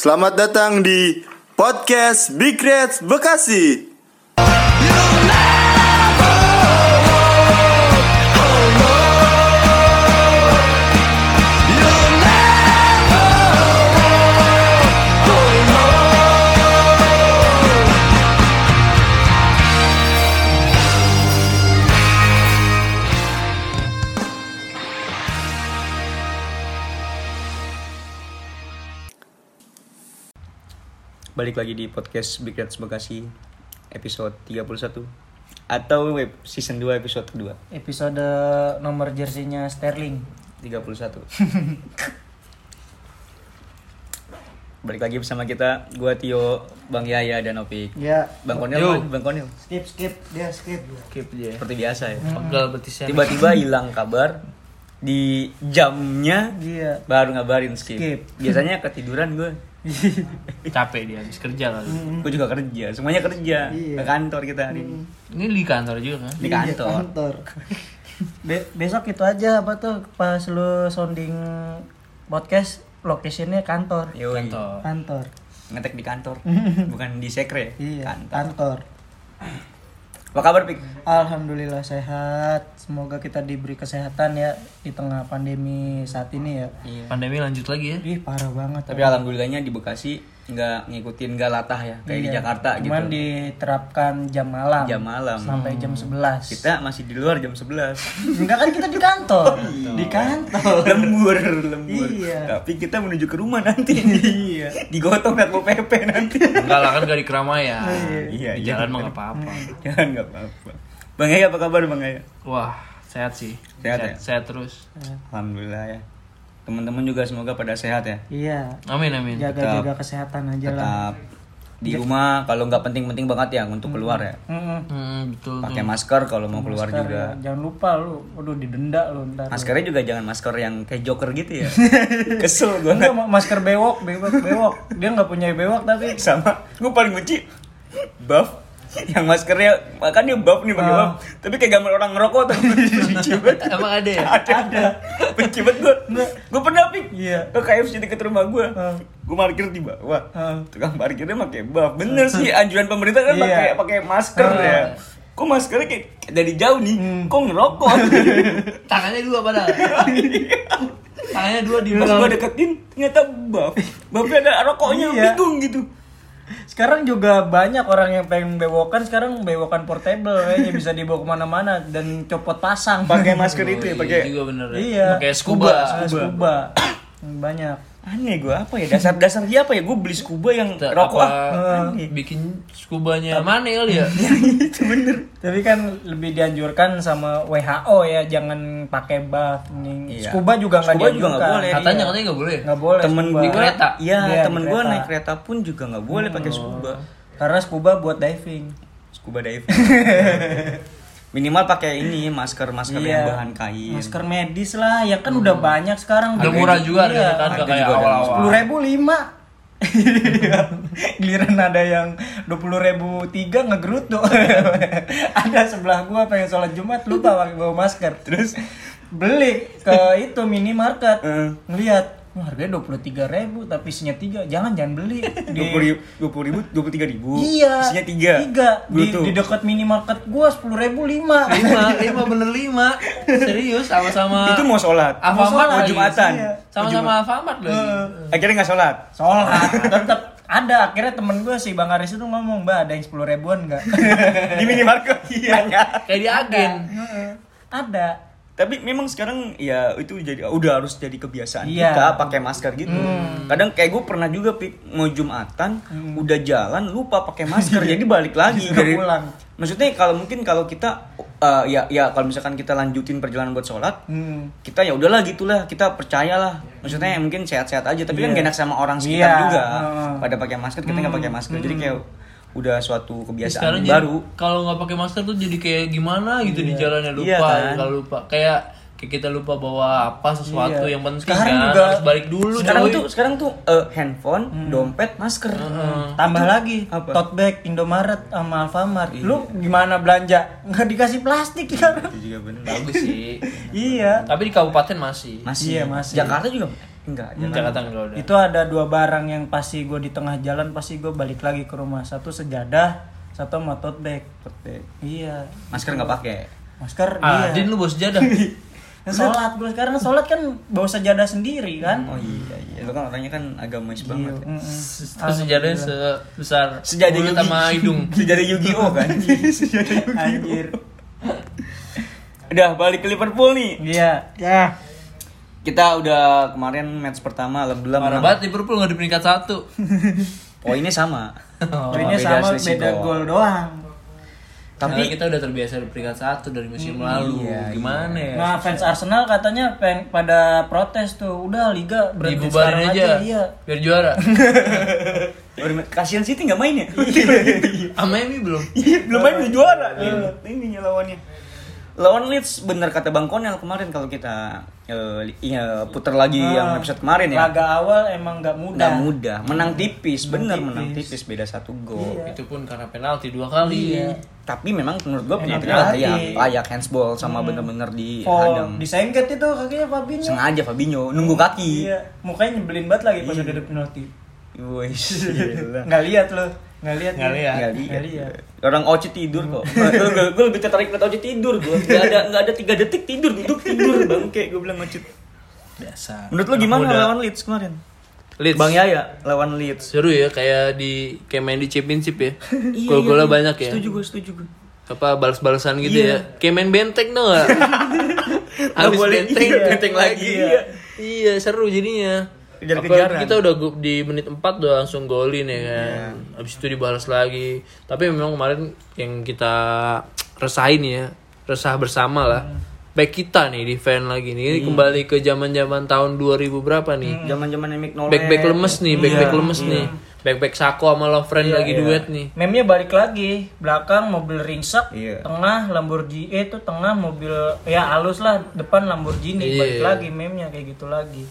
Selamat datang di podcast Big Reds Bekasi. Balik lagi di podcast Big Reds Bekasi episode 31 atau web season 2 episode 2 episode nomor jersinya Sterling 31. Balik lagi bersama kita gua Tio, Bang Yaya dan Opik. ya Bang Konil, Bang- Bang Konil. skip skip dia skip Skip dia. Hmm. Seperti biasa ya. Abdul Betisnya. Tiba-tiba hilang kabar di jamnya dia baru ngabarin skip. Skip. Biasanya ketiduran gua. Capek dia habis kerja kali. Hmm. Gua juga kerja, semuanya kerja. Iya. Ke kantor kita hari ini. Ini di kantor juga kan? Di kantor. Be- besok itu aja apa tuh pas lu sounding podcast lokasinya kantor Yoi. Kantor. kantor ngetek di kantor bukan di sekre iya kantor kantor apa kabar pik Alhamdulillah sehat semoga kita diberi kesehatan ya di tengah pandemi saat ini ya Pandemi lanjut lagi ya. ih parah banget Iya. tapi alhamdulillahnya di bekasi nggak ngikutin nggak latah ya kayak di Iya. jakarta cuman gitu diterapkan jam malam jam malam sampai jam 11 kita masih di luar jam 11 Enggak kan kita di kantor. di kantor. lembur lembur Oh. Iya. tapi kita menuju ke rumah nanti iya digotong satpol pp nanti Enggak lah kan gak di keramaian. Iya, Di iya. jalan mah gak apa-apa. jangan nggak apa apa bang Yaya apa kabar bang Yaya Wah, sehat sih. Sehat ya? sehat terus. alhamdulillah ya teman-teman juga semoga pada sehat ya Iya. Amin amin. Jaga-jaga kesehatan aja tetap lah. di rumah kalau nggak penting-penting banget ya untuk keluar ya Mm-mm. Hmm, betul tuh. pakai masker kalau mau keluar juga Ya, Jangan lupa lu, waduh didenda lu ntar. Maskernya juga jangan masker yang kayak Joker gitu ya. Kesel gue Enggak Iya, ma- masker bewok, bewok, bewok. Dia nggak punya bewok tapi sama. Gue paling benci buff yang maskernya makanya buff nih pakai buff. Tapi kayak gambar orang ngerokok tuh benci banget. Emang ada ya? Ada. Ada. Benci banget gue. Gue pernah pik. Iya. Ke KFC deket rumah gue. Ah. Gue parkir di bawah. Ah. Tukang parkirnya pakai buff. Bener sih anjuran pemerintah kan Iya. pakai pakai masker ya. Kok maskernya kayak dari jauh nih, kok ngerokok? Tangannya dua padahal. Tangannya dua di pas gua deketin ternyata bab babnya ada rokoknya Iya. bingung gitu sekarang juga banyak orang yang pengen bewokan sekarang bewokan portable kayaknya bisa dibawa kemana-mana dan copot pasang. pakai masker itu ya pakai juga bener ya. Iya. Pakai scuba. Ah, scuba. Banyak. aneh gua apa ya dasar dasar dia apa ya gua beli scuba yang Kita rokok apa, ah. Hmm. aneh bikin skubanya manel Iya. ya. itu bener Tapi kan lebih dianjurkan sama WHO ya jangan pakai bath. Mending- Iya. Scuba juga nggak Scuba juga nggak dianjurkan. boleh. iya. Katanya katanya nggak boleh. nggak boleh temen scuba. Di kereta? Oh. iya Iya, di temen gua kereta. naik kereta pun juga nggak boleh pakai scuba karena scuba buat diving scuba diving minimal pakai ini masker masker Iya. yang bahan kain masker medis lah ya kan udah banyak sekarang Iya. Udah murah juga harganya kan Harga nggak kayak juga ada. awal-awal. sepuluh ribu lima giliran ada yang dua puluh ribu tiga ngegerutu ada sebelah gua pengen sholat jumat lupa pakai bawa masker terus beli ke itu minimarket Eh. ngeliat "Wah, harganya dua puluh tiga ribu tapi isinya tiga jangan jangan beli dua puluh ribu dua puluh ribu dua puluh tiga ribu iya isinya tiga di, Bluetooth. di dekat minimarket gua sepuluh ribu lima Iya. lima lima bener lima serius sama-sama itu mau sholat Alfamart mau lagi. jumatan Iya. sama-sama Alfamart lagi akhirnya nggak sholat sholat tetep ada akhirnya temen gue si bang Aris itu ngomong mbak ada yang sepuluh ribuan nggak di minimarket iya kayak di agen Heeh. ada tapi memang sekarang ya itu jadi udah harus jadi kebiasaan Iya. Hmm. kita pakai masker gitu kadang kayak gue pernah juga Pik, mau jumatan udah jalan lupa pakai masker jadi balik lagi Disuruh Jadi- Iya. pulang. maksudnya kalau mungkin kalau kita uh, ya ya kalau misalkan kita lanjutin perjalanan buat sholat hmm. kita ya udahlah gitulah kita percayalah maksudnya ya mungkin sehat-sehat aja tapi kan gak enak sama orang sekitar Iya. juga Heeh. Hmm. pada pakai masker kita nggak pakai masker jadi kayak udah suatu sekarang kebiasaan jadi- baru kalau nggak pakai masker tuh jadi kayak gimana gitu di jalannya lupa Iya kan? kalau lupa kayak kayak kita lupa bawa apa sesuatu yang penting Sekarang kan juga- harus balik dulu Iya. sekarang coy. tuh sekarang tuh uh, handphone Hmm. dompet masker tambah lagi Hmm. apa? Iya. tote bag Indomaret sama Alfamart lu gimana belanja nggak dikasih plastik ya Itu juga bener. bagus sih iya tapi di kabupaten masih Masih, Hmm. Iya, masih. Jakarta juga Enggak, Jakarta enggak udah. Itu ada dua barang yang pasti gue di tengah jalan pasti gue balik lagi ke rumah. Satu sejadah, satu sama tote bag. Iya. ya. Masker nggak pakai. Masker Ah, iya. Din lu bos jadah. Nah, sholat gue karena sholat kan bawa sejadah sendiri kan. Oh iya iya. Lu kan orangnya kan agamais banget. ya. Mm-mm. Terus sejadahnya sebesar Sejadi mulut Yugi- sama hidung. Sejadi Yu-Gi-Oh kan. Sejadi Yu-Gi-Oh. Anjir. Udah balik ke Liverpool nih. Iya. Ya. Kita udah kemarin match pertama alhamdulillah Parah menang. banget Liverpool nggak di peringkat satu. Poinnya sama. Oh. Poinnya beda sama selisih beda gol. gol doang. Tapi kita udah terbiasa di peringkat satu dari musim Iya, lalu. Gimana Iya. ya? Nah, fans Arsenal katanya peng pada protes tuh. Udah liga berhenti sekarang Dibubarin aja, Iya. biar juara. Baru ma- Kasihan City nggak main ya? Sama ini belum. Iya. Belum main udah Eh, juara. Ini lawannya. Lawan Leeds bener kata Bang Konel kemarin kalau kita eh, li- iya, puter lagi yang episode kemarin ya. Laga awal emang nggak mudah. Nggak mudah, menang tipis, bener menang tipis Iya. beda satu gol. Itu pun karena penalti dua kali. Iya. Tapi memang menurut gue penalti penalti. layak, layak handball sama bener-bener di Hmm. Fall. handang. Disengket itu kakinya Fabinho. Iya, Sengaja Fabinho nunggu kaki. Iya, mukanya nyebelin banget lagi Iya. pas udah ada penalti. Wih, gila. Nggak lihat lo, nggak lihat. Nggak lo. lihat. Nggak Nggak lihat. lihat. Orang Oci tidur kok. gue lebih tertarik liat Oci tidur. Gue nggak ada nggak ada tiga detik tidur duduk tidur bangke. Gue bilang Oci. Dasar. Menurut lo Anak gimana muda. lawan Leeds kemarin? Leeds. Bang Yaya lawan Leeds. Seru ya kayak di kayak main di championship ya. Iya, Gol-golnya banyak ya. Setuju gue, setuju gue. Apa balas-balasan gitu Iya. ya. Kayak main benteng dong gak? Habis boleh, benteng, iya, benteng lagi, iya. Iya. Iya, seru jadinya. Kejar-kejaran. Apalagi kita udah gu- di menit 4 udah langsung golin ya kan. Iya. Habis itu dibalas lagi. Tapi memang kemarin yang kita resahin ya, resah bersama lah. Hmm. Back kita nih defend lagi nih. Ini Iya. kembali ke zaman-zaman tahun 2000 berapa nih? Zaman-zaman Mick Nolan. back back lemes Iya. nih, back back lemes nih, back back Sako sama Lovren lagi duet nih. Memnya balik lagi, belakang mobil ringsek, Iya. tengah Lamborghini eh, itu tengah mobil ya halus lah, depan Lamborghini Iya. balik lagi memnya kayak gitu lagi.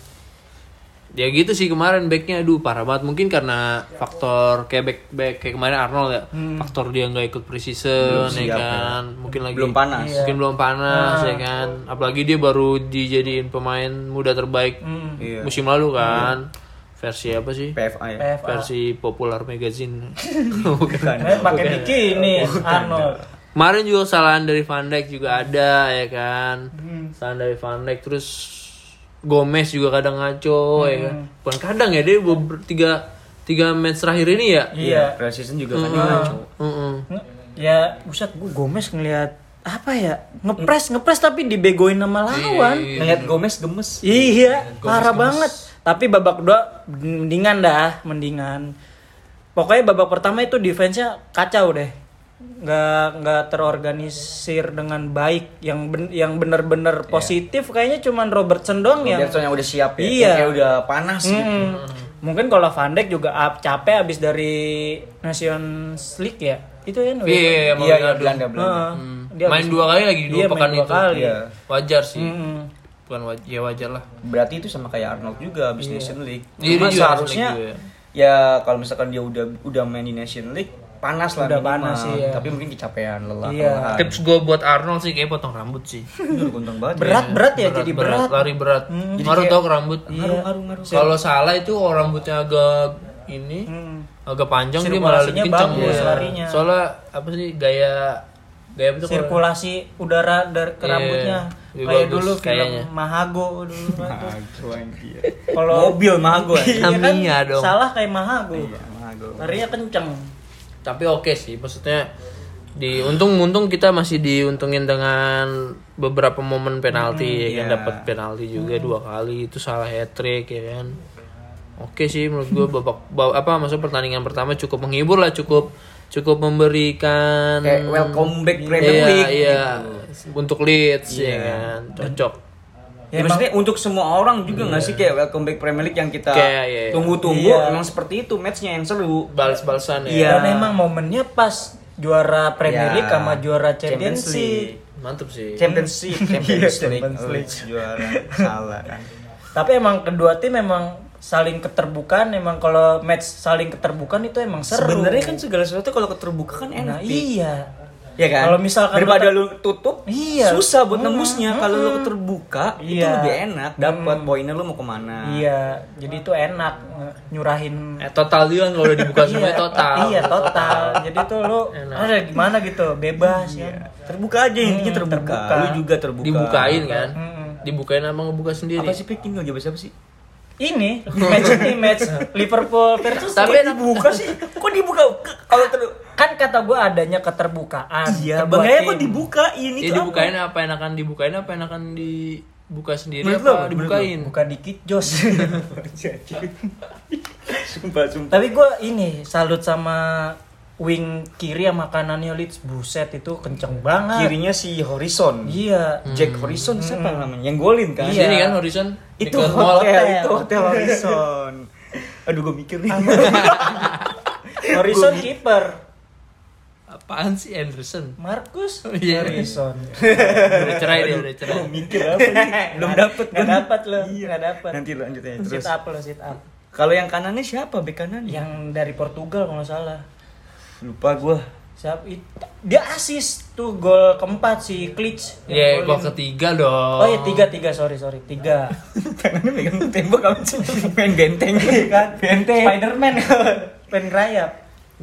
Ya gitu sih kemarin backnya, aduh parah banget. Mungkin karena faktor kayak back back kayak kemarin Arnold ya, faktor dia nggak ikut preseason, ya kan. Mungkin lagi Belum panas. mungkin belum panas, ya kan. Apalagi dia baru dijadiin pemain muda terbaik Hmm. Iya. musim lalu kan. Versi apa sih? PFA ya. PFA. Iya, Versi Popular Magazine. Bukan. Oh, Eh, pakai bikini Arnold. Kemarin juga kesalahan dari Van Dijk juga ada ya kan. Hmm. Kesalahan dari Van Dijk terus Gomez juga kadang ngaco ya Hmm. kan. Bukan kadang ya dia beber, tiga tiga match terakhir ini ya. Iya. Preseason juga kan dia ngaco. Heeh. Nge- Ya, buset gue Gomez ngelihat apa ya? Ngepres, ngepres tapi dibegoin sama Iya, lawan. Ngeliat Gomez gemes. Iya, parah banget. Tapi babak kedua mendingan dah, mendingan. Pokoknya babak pertama itu defense-nya kacau deh. Nggak nggak terorganisir dengan baik. Yang ben- yang Iya. bener-bener positif kayaknya cuman Robertson doang yang. Robertson yang udah siap ya. Iya. Kayak udah panas gitu. Hmm. Mungkin kalau Van Dijk juga up, capek abis dari Nations League ya. Itu ya. Iya, iya, iya, Iya, iya, Belanda. Belanda, Belanda. Heeh. Dia Main abis- dua kali lagi dua Iya, main pekan dua itu. kali. Iya. Wajar sih. Hmm. Bukan wajar, ya wajar lah. Berarti itu sama kayak Arnold juga abis Nation League. Iya, Cuma dia juga seharusnya Nation League ya kalau misalkan dia udah udah main di Nation League panas lah Udah minimal. panas, iya. Tapi mungkin kecapean, lelah, Iya. kelelahan. Tips gue buat Arnold sih kayak potong rambut sih. Aduh, untung banget. ya. Berat berat ya jadi berat. Hmm, lari berat. Ngaruh tau ke rambut. Kalau salah itu orang rambutnya agak ini Hmm. agak panjang dia malah Sirkulasinya lebih kencang bagus Iya. larinya. Soalnya apa sih gaya gaya itu kalau sirkulasi udara dari ke Iya, rambutnya lebih kayak bagus dulu film kayaknya. Mahago dulu tuh. Kalau mobil mah gue. Iya kan, Tamiya dong. salah kayak Mahago Mah gue. larinya kenceng tapi oke sih maksudnya di untung untung kita masih diuntungin dengan beberapa momen Hmm, penalti ya iya. kan dapat penalti juga dua kali itu salah hat trick ya kan oke sih menurut gue babak bab- apa maksud pertandingan pertama cukup menghibur lah cukup cukup memberikan Kayak welcome back Premier iya, League. gitu. Iya. iya. untuk Leeds ya kan cocok Ya, maksudnya untuk semua orang juga nggak sih kayak welcome back Premier League yang kita Iya. Kayak, iya, iya. tunggu-tunggu Iya. emang seperti itu matchnya yang seru. balas-balasan ya Iya. dan emang momennya pas juara Premier Ya, League sama juara Champions Iya. Champions League mantep sih Champions League, Champions Iya, League, Champions League. Oh, juara salah kan. tapi emang kedua tim emang saling keterbukaan emang kalau match saling keterbukaan itu emang seru Sebenarnya kan segala sesuatu kalau keterbuka kan enak. nah Pi. iya Iya kan? Kalau misalkan daripada lu- lu tutup, Iya. hmm. susah buat nembusnya. Kalau lu terbuka, itu Iya. lebih enak. Dapat poinnya lu mau kemana? Iya, jadi itu enak nge- nyurahin Eh, total dia kan kalau udah dibuka semuanya total. Iya, total. jadi tuh lu ada gimana gitu, bebas Iya. ya. Terbuka aja intinya terbuka. terbuka. Lu juga terbuka. Dibukain kan? Mm-mm. Dibukain sama ngebuka sendiri. Apa sih pik ini lagi bahas apa sih? Ini match ini match Liverpool versus Tapi City. enak. Dibuka sih. Kok dibuka? Ke- Kalau ter kan kata gue adanya keterbukaan. Iya, sebuah bangnya tim. kok dibukain itu. Ya dibukain apa enakan dibukain apa enakan dibuka sendiri Menurut lo apa? apa Menurut dibukain? buka dikit jos. apa? Sumpah, sumpah. Tapi gue ini salut sama wing kiri sama kanannya Leeds buset itu kenceng banget. Kirinya si Horizon. Iya. Hmm. Jack Horizon siapa namanya? Yang golin kan? Di sini kan horizon Itu dekat hotel, mall. itu hotel Horizon. Aduh gue mikir nih. Horizon kiper. Apaan sih Anderson? Markus Oh, iya. Horizon. udah cerai dia udah cerai. mikir apa nih? Belum dapet Nggak gua. dapat lo. Iya. Nggak dapat. Nanti lanjut aja terus. Sit up lo sit up. Kalau yang kanannya siapa bek kanannya? Yang dari Portugal kalau nggak salah. Lupa gue. Siap it- dia asis tuh gol keempat si Klitsch. Ya Yang gua golin. ketiga dong. Oh iya tiga tiga sorry sorry tiga. Tangannya megang tembok kamu main benteng kan? Benteng. Iya Spiderman pen rayap.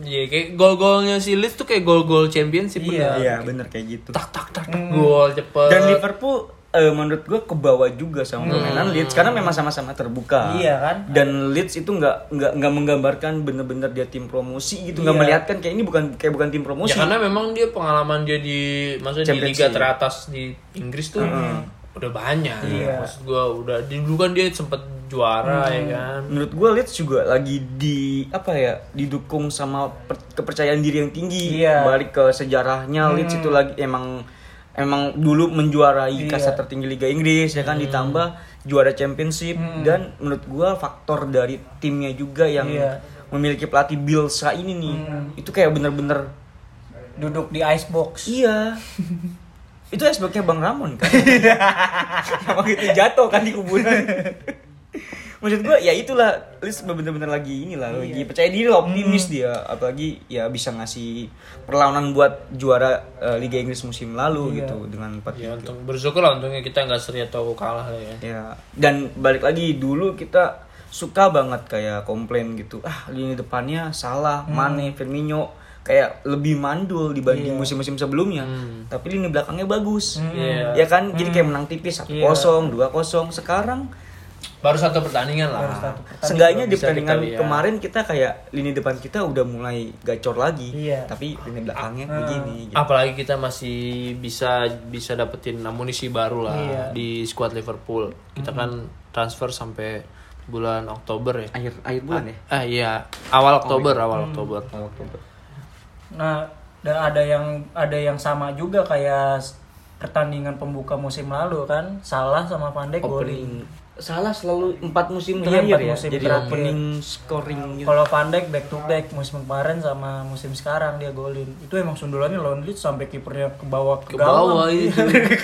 Iya kayak gol-golnya si Leeds tuh kayak gol-gol championship bener. Iya bener kayak gitu. Tak tak tak. tak, Gol cepet. Dan Liverpool eh, menurut gue ke bawah juga sama permainan Leeds karena memang sama-sama terbuka. Hmm. Iya kan? Dan Leeds itu nggak nggak nggak menggambarkan bener-bener dia tim promosi gitu, nggak Iya. melihatkan kayak ini bukan kayak bukan tim promosi. Ya karena memang dia pengalaman dia di maksudnya di Champions liga League. teratas di Inggris tuh udah banyak. Maksud gua udah dulu kan dia sempet juara ya kan. Menurut gue Leeds juga lagi di apa ya didukung sama per- kepercayaan diri yang tinggi. Iya. Hmm. Balik ke sejarahnya Leeds itu lagi emang emang dulu menjuarai Iya. kasta tertinggi Liga Inggris ya Hmm. kan ditambah juara Championship dan menurut gue faktor dari timnya juga yang Iya. Hmm. memiliki pelatih Bilsa ini nih itu kayak bener-bener Duduk di icebox. iya itu esboknya Bang Ramon kan sama itu jatuh kan di kuburan maksud gua ya itulah Lis bener-bener lagi inilah lagi percaya diri lah, optimis dia apalagi ya bisa ngasih perlawanan buat juara eh, Liga Inggris musim lalu gitu dengan empat Ya untung bersyukur lah untungnya kita nggak seri atau kalah lah ya. Ya, dan balik lagi dulu kita suka banget kayak komplain gitu. Ah, lini depannya salah, Mane, Firmino kayak lebih mandul dibanding musim-musim sebelumnya. Tapi lini belakangnya bagus. Iya. Ya kan? Jadi kayak menang tipis 1-0, 2-0. Sekarang Baru satu pertandingan lah. seenggaknya di bisa pertandingan kita lihat. kemarin kita kayak lini depan kita udah mulai gacor lagi. Iya. Tapi lini belakangnya begini gitu. Apalagi kita masih bisa bisa dapetin amunisi baru lah di skuad Liverpool. Kita kan transfer sampai bulan Oktober ya. Akhir akhir bulan ya. Ah iya, awal Oktober, awal Oktober. Nah, dan ada yang ada yang sama juga kayak s- pertandingan pembuka musim lalu kan, salah sama Pandai golin. Opening salah selalu empat musim Iya, terakhir empat ya. musim Jadi terakhir. opening scoring gitu. Kalau Pandai back to back musim kemarin sama musim sekarang dia golin. Itu emang sundulannya lawan Leeds sampai kipernya ke bawah ke, Ke gawang. bawah itu. Ke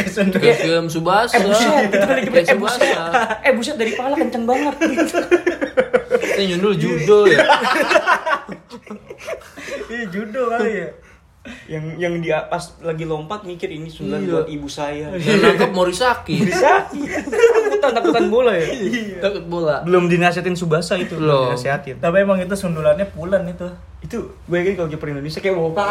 film Subasa. Ke Subasa. eh buset dari pala kenceng banget Kita nyundul judo ya. iya judo kali ya yang yang dia pas lagi lompat mikir ini sundulan buat ibu saya Yang nangkep Morisaki. Iya. takutan takutan bola ya Takut bola. belum dinasihatin Subasa itu Belum. dinasihatin Tapi emang itu sundulannya pulan itu. itu gue yakin kalau kiper Indonesia kayak bola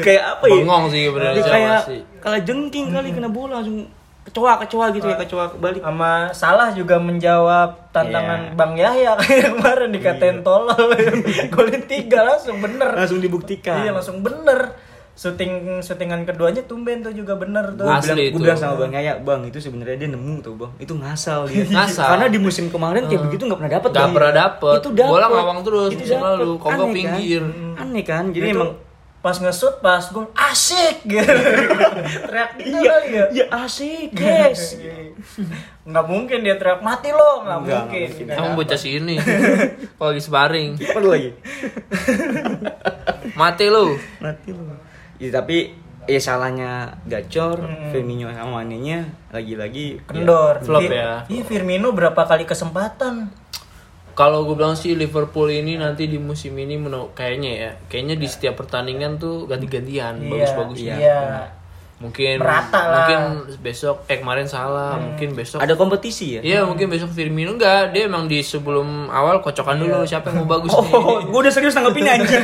kayak apa ya Bengong sih Dia sebenarnya kayak sih. kalah jengking kali kena bola langsung kecoa kecoa gitu Ah. ya kecoa balik Sama salah juga menjawab tantangan Bang Yahya kayak kemarin dikatain tolol. golin tiga langsung bener. langsung dibuktikan Iya langsung bener. Syuting syutingan keduanya tumben tuh juga bener tuh. gue bilang, Asli gua itu. bilang sama bang Yaya bang itu sebenarnya dia nemu tuh bang itu ngasal dia Ngasal. Eh. karena di musim kemarin kayak begitu nggak pernah dapet Nggak Bang. pernah dapet. itu dapet. Bola ngawang terus Itu musim dapet. lalu. Kobok Aneh kan? pinggir. aneh kan jadi Itu emang pas ngesut pas gol asik gitu. teriak gitu iya kali ya. iya asik guys Nggak mungkin dia teriak mati lo, nggak Nggak, mungkin. Kan nggak Nggak Emang ada. bocah sini. Kalau lagi sparring. perlu lagi Mati lu. mati lu ya tapi ya salahnya gacor Hmm. Firmino sama Manenya lagi-lagi ya, kendor Flop Fir- ya. Ih, Firmino berapa kali kesempatan? kalau gue bilang sih Liverpool ini nanti di musim ini meno- kayaknya ya, kayaknya Iya. di setiap pertandingan tuh ganti-gantian, bagus-bagus Iya. ya. Iya. Mungkin Merata lah. mungkin besok eh kemarin salah, mungkin besok Hmm. Ada kompetisi ya? Iya, mungkin besok Firmino enggak, dia emang di sebelum awal kocokan dulu siapa yang mau bagus Iya. Oh, nih. gue udah serius tanggepin anjing.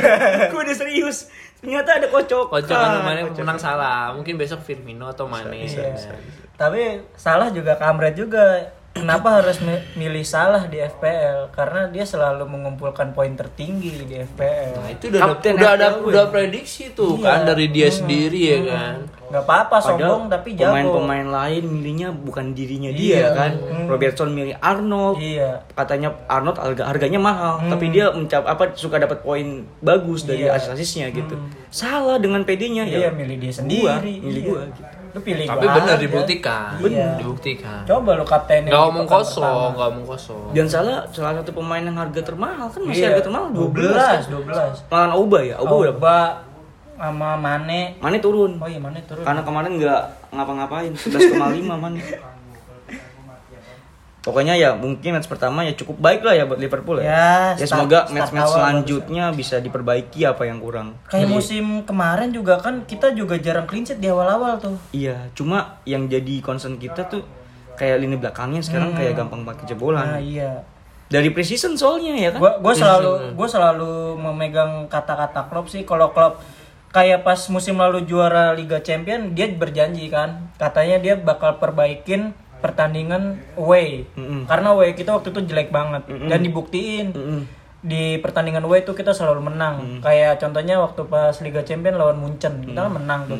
gue udah serius. Ternyata ada kocok. Ah. Kocokan kan kemarin menang salah, mungkin besok Firmino atau Mane. Tapi salah juga kamret juga. Kenapa harus mi- milih salah di FPL? Karena dia selalu mengumpulkan poin tertinggi di Nah, FPL. itu udah ada, udah ada udah prediksi tuh kan dari dia sendiri ya kan. Nggak apa-apa sombong tapi jago. Pemain-pemain lain milihnya bukan dirinya dia kan. Robertson milih Arnold. Hmm. Iya. Hmm. Katanya Arnold harga- harganya mahal, tapi dia mencap apa suka dapat poin bagus dari asis-asisnya gitu. Salah dengan PD-nya Hmm. Iya, ya. milih dia Gua, sendiri. milih Iya. gua gitu. Lu pilih Tapi gua benar aja. dibuktikan, Iya. dibuktikan. Coba lu kaptenin. gitu Gak di omong pekan kosong, gak omong kosong. Dan salah salah satu pemain yang harga termahal kan pertama. masih Iya. Oh. harga termahal 12. 12. Lawan Auba Oh, ya, Auba udah Oba sama Mane. Mane turun. Oh iya Mane Kan turun. Karena kemarin nggak ngapa-ngapain, 11,5 man. Pokoknya ya mungkin match pertama ya cukup baik lah ya buat Liverpool ya. Ya, Ya start- semoga start match-match awal ya. selanjutnya bisa diperbaiki apa yang kurang. Kayak musim kemarin juga kan kita juga jarang clean sheet di awal-awal tuh. Iya, cuma yang jadi concern kita tuh kayak lini belakangnya sekarang kayak gampang pakai Nah, Kan. jebolan. iya. Dari precision soalnya ya kan. Gua gua selalu gua selalu memegang kata-kata Klopp sih kalau Klopp kayak pas musim lalu juara Liga Champion dia berjanji kan katanya dia bakal perbaikin pertandingan away karena away kita waktu itu jelek banget dan dibuktiin di pertandingan away itu kita selalu menang kayak contohnya waktu pas Liga Champion lawan Munchen kita kan menang tuh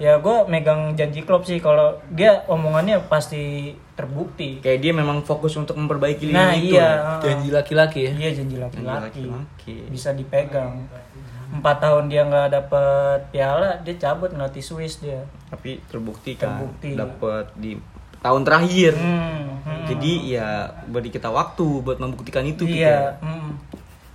3-1 ya gue megang janji Klopp sih kalau dia omongannya pasti terbukti Kayak dia memang fokus untuk memperbaiki lini nah itu. ya. iya heeh. Janji laki-laki ya. Iya janji laki-laki. Iya. laki-laki. Bisa dipegang. Empat tahun dia nggak dapet piala, dia cabut ngelatih Swiss dia. Tapi terbukti kan Terbukti. dapat di tahun terakhir. Hmm, hmm, Jadi ya beri kita waktu buat membuktikan itu gitu ya. iya. hmm.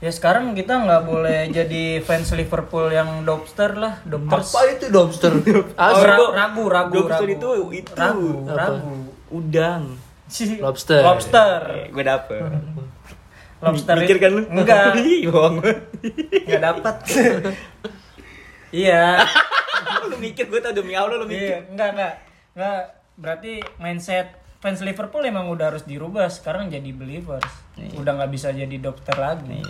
Ya sekarang kita nggak boleh jadi fans Liverpool yang dobster lah, dobsters. Apa itu lobster? Oh, Asli. ra- ragu, ragu, Ah, Dobster ragu. itu itu ragu, Apa? ragu. udang. Si- Lobster. Lobster. Eh, gue dapet. Lobster. Mikir kan lu? Enggak. Ih, bohong. Enggak dapat. Iya. lu mikir gue tau demi Allah lu mikir. Iya, enggak enggak. Enggak berarti mindset fans Liverpool emang udah harus dirubah sekarang jadi believers. Iya. Udah nggak bisa jadi dokter lagi.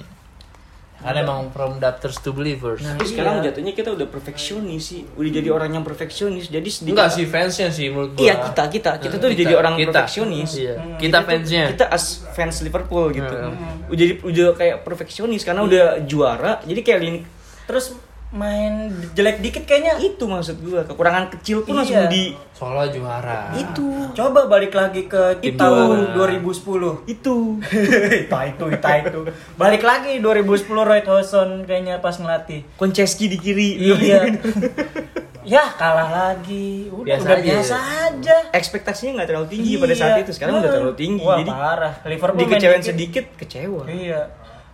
Karena emang from adapters to believers. Tapi sekarang jatuhnya kita udah perfeksionis sih. Udah jadi orang yang perfeksionis. Jadi sedikit Enggak sih fansnya sih menurut gua. Nah, Iya kita kita kita tuh Kita, jadi orang kita. perfeksionis. Iya. Kita tuh- fansnya. Kita as fans Liverpool gitu. Udah jadi udah kayak perfeksionis karena udah juara. Jadi kayak lini Terus main jelek dikit kayaknya itu maksud gua kekurangan kecil pun Iya. langsung di Soalnya juara. itu coba balik lagi ke Tim tahun juara. 2010. itu Ita itu, ita itu. Balik lagi 2010 Roy Hodgson kayaknya pas ngelatih. Konceski di kiri. Iya. ya kalah lagi. Udah Biasa udah aja. biasa aja. Ekspektasinya nggak terlalu tinggi pada saat Iya. itu. Sekarang udah terlalu tinggi. Wah, jadi parah. Liverpool main dikecewain dikit. sedikit kecewa. Iya,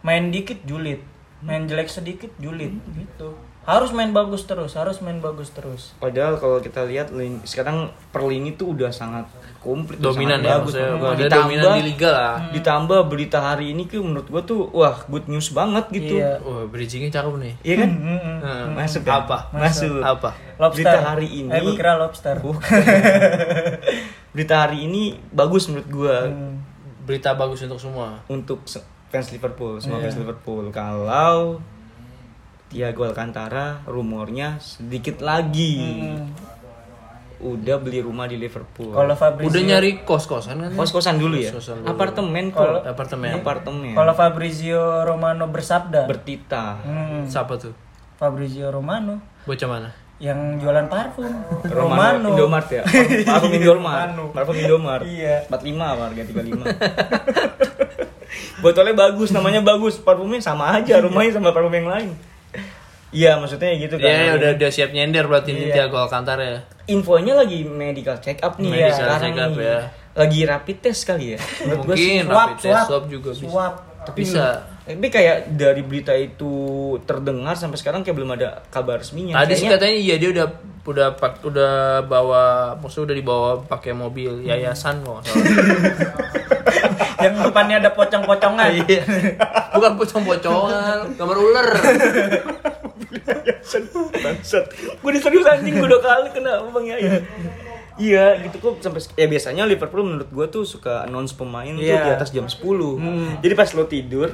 main dikit julid, main jelek sedikit julid, Hmm. gitu. Harus main bagus terus, harus main bagus terus. Padahal kalau kita lihat lin- sekarang per lini tuh udah sangat komplit, Dominan sangat ya, bagus. maksudnya Nah, dia dominan di liga lah. Ditambah berita hari ini tuh menurut gua tuh wah good news banget gitu. Iya. Hmm, Wah, bridgingnya cakep nih. Iya kan? Heeh. Masuk kan? Apa? Masuk. Apa? Lobster. Berita hari ini. Eh, gua kira lobster. berita hari ini bagus menurut gua Hmm. Berita bagus untuk semua. untuk se- fans Liverpool, semua fans Liverpool. Kalau Thiago Alcantara rumornya sedikit lagi. Udah beli rumah di Liverpool. Kalau Fabrizio, Udah nyari kos-kosan kan? kos-kosan dulu ya. Kos-kosan dulu. Apartemen kok. Apartemen. Apartemen. kalau Fabrizio Romano bersabda, bertita. Hmm, Siapa tuh? Fabrizio Romano Bocah mana? yang jualan parfum, Romano, Indomart ya. Parfum Indomart. Romano. Parfum Indomart. Iya. 45 apa harga 35. Botolnya bagus, namanya bagus. Parfumnya sama aja, rumahnya sama parfum yang lain. Iya, maksudnya gitu kan. Iya, udah udah siap nyender berarti ini Iya. Thiago Alcantara ya. Infonya lagi medical check up nih Medical sekarang check up nih. ya. Lagi rapid test kali ya. Menurut gua sih. Mungkin swab, rapid test swab. swab juga bisa. Suap. Tapi bisa. Tapi kayak dari berita itu terdengar sampai sekarang kayak belum ada kabar resminya. Tadi sih ya, Kayaknya- katanya iya dia udah udah pak- udah Hmm. bawa maksudnya udah dibawa pakai mobil yayasan kok nggak salah. yang depannya ada pocong-pocongan. Iya. Bukan pocong-pocongan, gambar ular. gue diserius anjing gue dua kali kena bang ya. Yaya iya gitu kok sampai ya biasanya Liverpool menurut gue tuh suka announce pemain tuh Iya. di atas jam 10 jadi pas lo tidur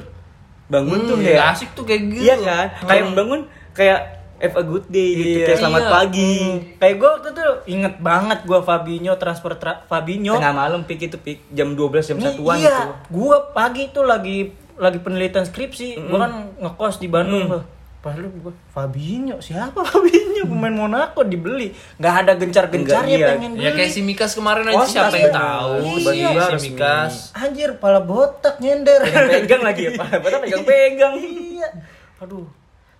bangun tuh Nggak kayak Hmm. asik tuh kayak gitu. iya kan kayak bangun kayak have a good day gitu Iya. kayak selamat Iya. pagi Kayak gue waktu itu inget banget gue Fabinho transfer tra- Fabinho. tengah malam pik itu pik jam 12 jam Ini satuan Oh. iya, gitu gue pagi tuh lagi lagi penelitian skripsi, gue kan ngekos di Bandung tuh. Pas lu gue Fabinho siapa Fabinho pemain Monaco dibeli, nggak ada Nggak, gencar-gencarnya iya. pengen beli. Ya kayak si Mikas kemarin aja Wah, siapa Mikas yang tuh- tahu Iya. si Mikas. Anjir, pala botak nyender. pegang lagi ya pak Padahal pegang-pegang iya. Aduh,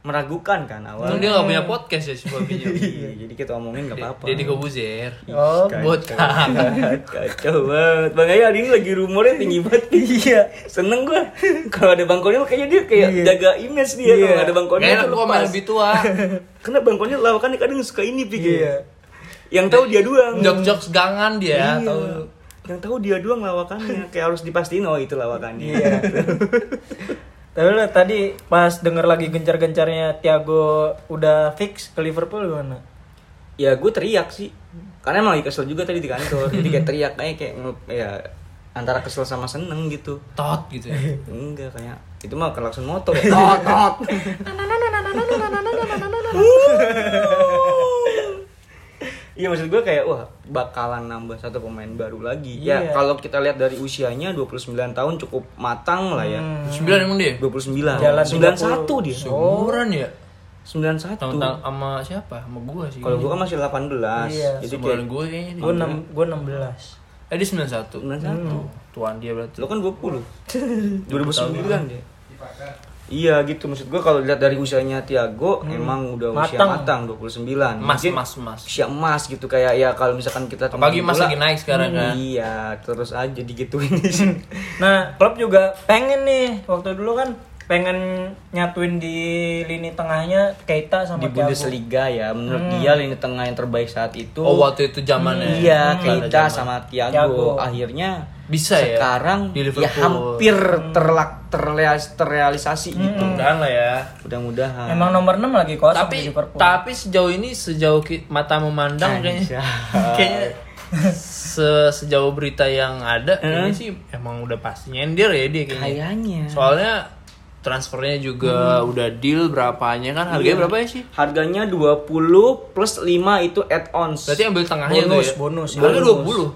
meragukan kan awal Untung dia gak punya podcast ya si Fabinho. Iya, jadi kita omongin gak apa-apa Deddy Kobuzer. Oh, botak. Kacau banget. Bang Ayu hari ini lagi rumornya tinggi banget. Iya. Seneng gua. Kalau ada Bang Konil kayaknya dia kayak Iya. jaga image dia. Kalau nggak ada Bang Konil Gak enak tuh gua main lepas. lebih tua. Karena Bang Konil lawakannya kadang suka ini pikir. Iya. Yang tahu dia doang. Jok-jok gangan dia, Iya. tahu. Yang tahu dia doang lawakannya. Kayak harus dipastiin oh itu lawakannya. Iya. Tapi lo tadi pas denger lagi gencar-gencarnya Thiago udah fix ke Liverpool gimana? ya gue teriak sih. Karena emang lagi kesel juga tadi di kantor. Jadi kayak teriak aja kayak nge- ya antara kesel sama seneng gitu. Tot gitu ya. Enggak kayak itu mah kelakson motor ya. Tot tot. Iya maksud gue kayak wah bakalan nambah satu pemain baru lagi. Ya Iya. kalau kita lihat dari usianya 29 tahun cukup matang lah ya. Sembilan emang dia. 29. Hmm. Jalan 91 dia. Seumuran ya. 91. Tahun tahun sama siapa? Sama gua sih. Kalau gue kan masih 18. Iya, Jadi kayak seumuran gue ini. Gue enam, gue 16 Eh dia 91. 91. Tuan dia berarti. Lo kan 20. 2009 dia. Iya gitu maksud gue kalau lihat dari usianya Tiago emang udah usia matang Matang. 29. Hmm. Mas, Mungkin mas, mas. usia emas gitu kayak ya kalau misalkan kita temuin Apalagi mas bola, lagi naik sekarang kan. Iya, terus aja digituin sih. Nah, klub juga pengen nih waktu dulu kan pengen nyatuin di lini tengahnya Keita sama di Thiago. Bundesliga ya menurut dia lini tengah yang terbaik saat itu Hmm. Oh waktu itu zamannya. iya Pada Keita zaman. sama Thiago. Thiago. akhirnya Bisa ya, sekarang di ya Liverpool. Hmm. hampir terlak terrealis- terrealisasi gitu Mudah-mudahan lah ya. mudah-mudahan Emang nomor 6 lagi kosong tapi di Liverpool. tapi sejauh ini sejauh ki- mata memandang Iya. kayaknya kayaknya se- sejauh berita yang ada kayaknya sih emang udah pasti nyender ya dia kayaknya kayaknya soalnya transfernya juga Hmm. udah deal berapanya kan Iya. harganya berapa ya sih harganya 20 plus 5 itu add-ons berarti ambil tengahnya Bonus, tuh ya bonus, iya, harga bonus.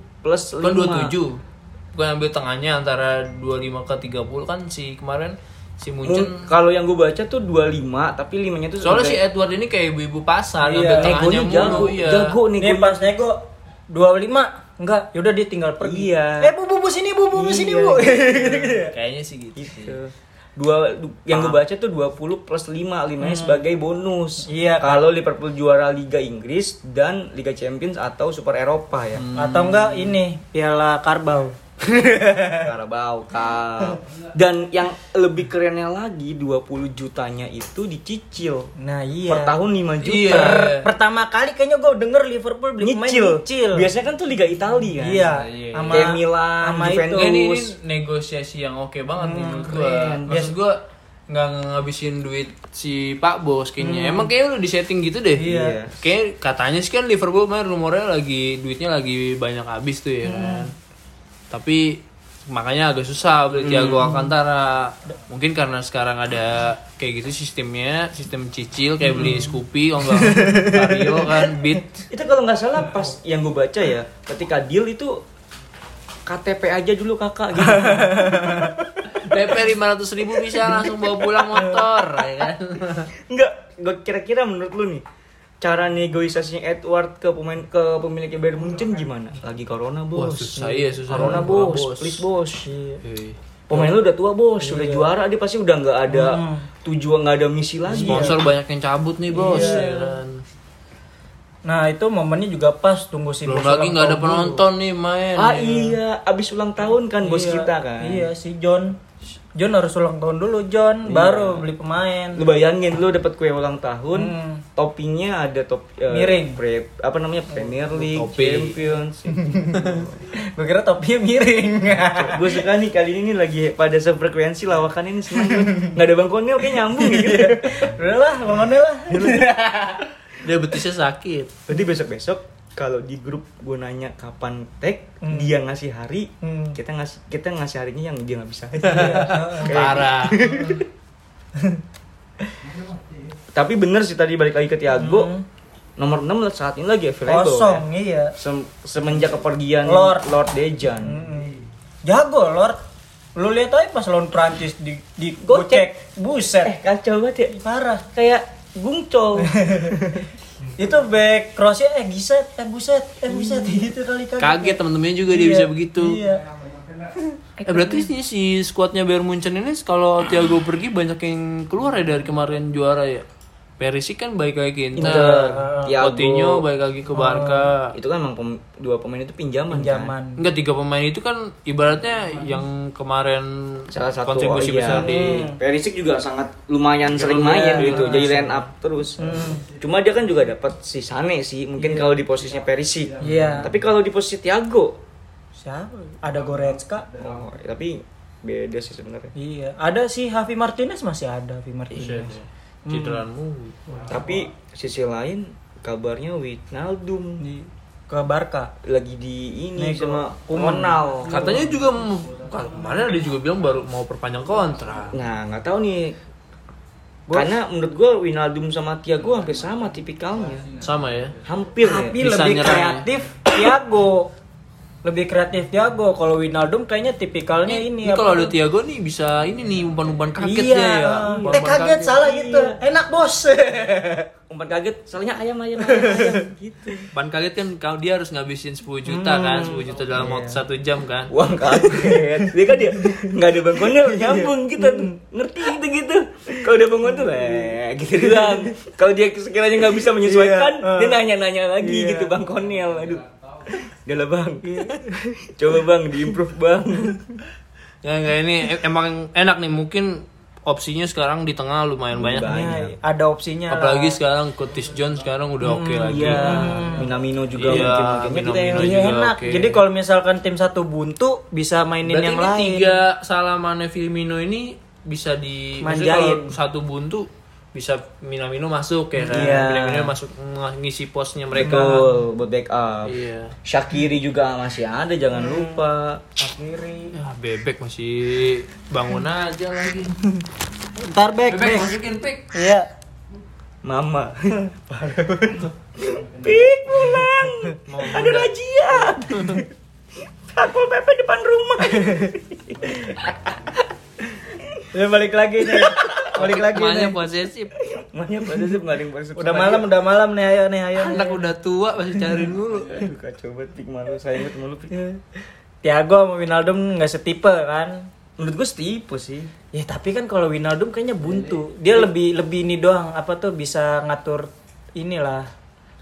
20 plus 5 20 bukan 27 bukan ambil tengahnya antara 25 ke 30 kan si kemarin si Munchen Hmm. Mung- kalau yang gue baca tuh 25 tapi 5 nya tuh soalnya si sebagai- Edward ini kayak ibu-ibu pasar ambil Iya, tengahnya negonya jago mulu ya jago nih negonya pas nego 25 enggak, yaudah dia tinggal pergi. Iya. Eh, Bu, Bu, Bu sini, Bu, Bu, Bu sini, Bu. kayaknya sih gitu sih. Gitu. dua du- yang gue Ah. baca tuh 20 plus 5 5 nya sebagai bonus Hmm. Iya, kan. kalau Liverpool juara Liga Inggris dan Liga Champions atau Super Eropa ya Atau enggak ini Piala Karbau. Carabao Cup dan yang lebih kerennya lagi 20 jutanya itu dicicil Nah, iya. per tahun 5 juta Iya. Pertama kali kayaknya gue denger Liverpool beli pemain nyicil. nyicil. biasanya kan tuh Liga Italia kan Iya, Iya, sama Kayak Milan, sama Juventus. itu. Ini, ini negosiasi yang oke banget nih menurut gua. Maksud gua nggak ngabisin duit si Pak Bos kayaknya. Emang kayaknya udah disetting gitu deh. Iya. Kayak katanya sih kan Liverpool main rumornya lagi duitnya lagi banyak habis tuh ya kan. Tapi makanya agak susah beli Thiago Alcantara. Mungkin karena sekarang ada kayak gitu sistemnya, sistem cicil kayak beli Scoopy kalau nggak Vario kan Beat. itu kalau nggak salah pas yang gue baca ya ketika deal itu KTP aja dulu kakak gitu DP 500 ribu bisa langsung bawa pulang motor ya kan. Enggak, gue kira-kira menurut lu nih cara negosiasinya Edward ke pemain ke pemiliknya Bayern Munchen gimana? Lagi corona Wah, bos. susah, iya, susah. Corona bos, Corona, bos. please bos. Yoi. Pemain lu udah tua bos, udah Iya. juara dia pasti udah nggak ada Hmm. tujuan nggak ada misi lagi. sponsor Iya. banyak yang cabut nih bos ya kan. Nah, itu momennya juga pas tunggu si belum bos ulang lagi nggak ada tahun dulu. Ah, penonton nih main Ah iya, abis ulang tahun kan bos Iya, kita kan. Iya, si John. John harus ulang tahun dulu John baru beli pemain Iya. Lu bayangin lu dapat kue ulang tahun, Hmm. toppingnya ada top eh, Miring. pre- apa namanya Premier League, Topi. Champions. gue kira topinya miring gue suka nih kali ini lagi pada sefrekuensi lawakan ini seneng gua. nggak ada bang Konil kayak nyambung ya Iya. gitu ya. udah lah bangunnya lah Iya, Dia betisnya sakit. Berarti besok besok kalau di grup gue nanya kapan tag Hmm. dia ngasih hari Hmm. kita ngasih kita ngasih harinya yang dia nggak bisa Parah. tapi bener sih tadi balik lagi ke Tiago Hmm. nomor 6 saat ini lagi available kosong ya. iya Sem- semenjak kepergian Lord. Lord Dejan Mm-mm. jago Lord lu lihat aja pas lawan Prancis di di Gocek. gocek buset eh kacau banget ya parah kayak gungcol itu back crossnya eh giset eh buset eh buset Hmm. gitu kali kaget Kaget teman-temannya juga dia Iya, bisa begitu. iya Eh berarti si, si skuadnya Bayern Munchen ini kalau Thiago pergi banyak yang keluar ya dari kemarin juara ya. Perisic kan baik lagi ke Iya. Inter, Inter. Thiago. Coutinho baik lagi ke Ah. Barca. itu kan emang pem- dua pemain itu pinjaman kan? Hmm. pinjaman Enggak tiga pemain itu kan ibaratnya yang kemarin salah satu kontribusi oh iya. besar di Hmm. Iya, Perisic juga sangat lumayan sering main gitu jadi line up terus Hmm. cuma dia kan juga dapat si Sane sih mungkin kalau di posisinya Perisic Iya. tapi kalau di posisi Thiago siapa ada Goretzka oh, tapi beda sih sebenarnya iya ada si Javi Martinez masih ada Javi Iya, Martinez Hmm. cederaan mulu. tapi sisi lain kabarnya Wijnaldum di ke Barca lagi di ini Nego. sama Kumanal Katanya juga mau- kan kemarin ada juga bilang baru mau perpanjang kontrak. nah nggak tahu nih karena menurut gue Wijnaldum sama Thiago hampir sama tipikalnya Sama ya. hampir ya. tapi Bisa lebih nyerang, ya. kreatif Thiago lebih kreatif Thiago kalau Winaldum kayaknya tipikalnya ini, Ini apa? kalau ada Thiago nih bisa ini nih umpan-umpan iya. kaget dia ya. eh Umpan-umpan kaget salah gitu Iya. enak bos umpan kaget soalnya ayam ayam, ayam gitu Ban kaget kan kalau dia harus ngabisin 10 juta kan, 10 juta dalam waktu satu jam kan. uang kaget dia kan dia nggak ada bangunnya Iya. nyambung gitu Hmm. ngerti gitu gitu kalau udah bangun tuh eh gitu doang kalau dia sekiranya nggak bisa menyesuaikan Iya, eh. dia nanya nanya lagi Iya. gitu bang Konil aduh Udah lah bang coba bang diimprove bang Ya enggak ini e- emang enak nih mungkin opsinya sekarang di tengah lumayan banyak. Banyak. Iya, ada opsinya lah. Apalagi sekarang Curtis Jones sekarang udah oke lagi. iya Minamino juga Iya, mungkin mungkin kita yang Minamino Iya, juga enak oke. jadi kalau misalkan tim satu buntu bisa mainin Berarti yang ini lain tiga salah Mane Firmino ini bisa di maksudnya Manjain. kalau satu buntu bisa Minamino masuk ya kan. Iya. Minamino masuk ng- ngisi posnya mereka. betul buat backup Iya. Shakiri juga masih ada Hmm. jangan lupa Akhiri. Ya, bebek masih bangun aja lagi. ntar back Bebek back masukin pick. iya Mama. Pik pulang. Ada razia. Satpol PP depan rumah. ya balik lagi nih balik lagi Emaknya nih posesif. Makanya pada sih nggak ada yang bersih. udah malam udah malam nih ayo nih ayo nih. Anak udah tua masih cariin mulu. Eh. Aduh kacau banget Pik malu. Saya inget mulu Pik. Thiago sama Winaldum nggak setipe kan Menurut gue setipe sih. Ya tapi kan kalau Winaldum kayaknya buntu. Dia lebih lebih ini doang apa tuh bisa ngatur inilah.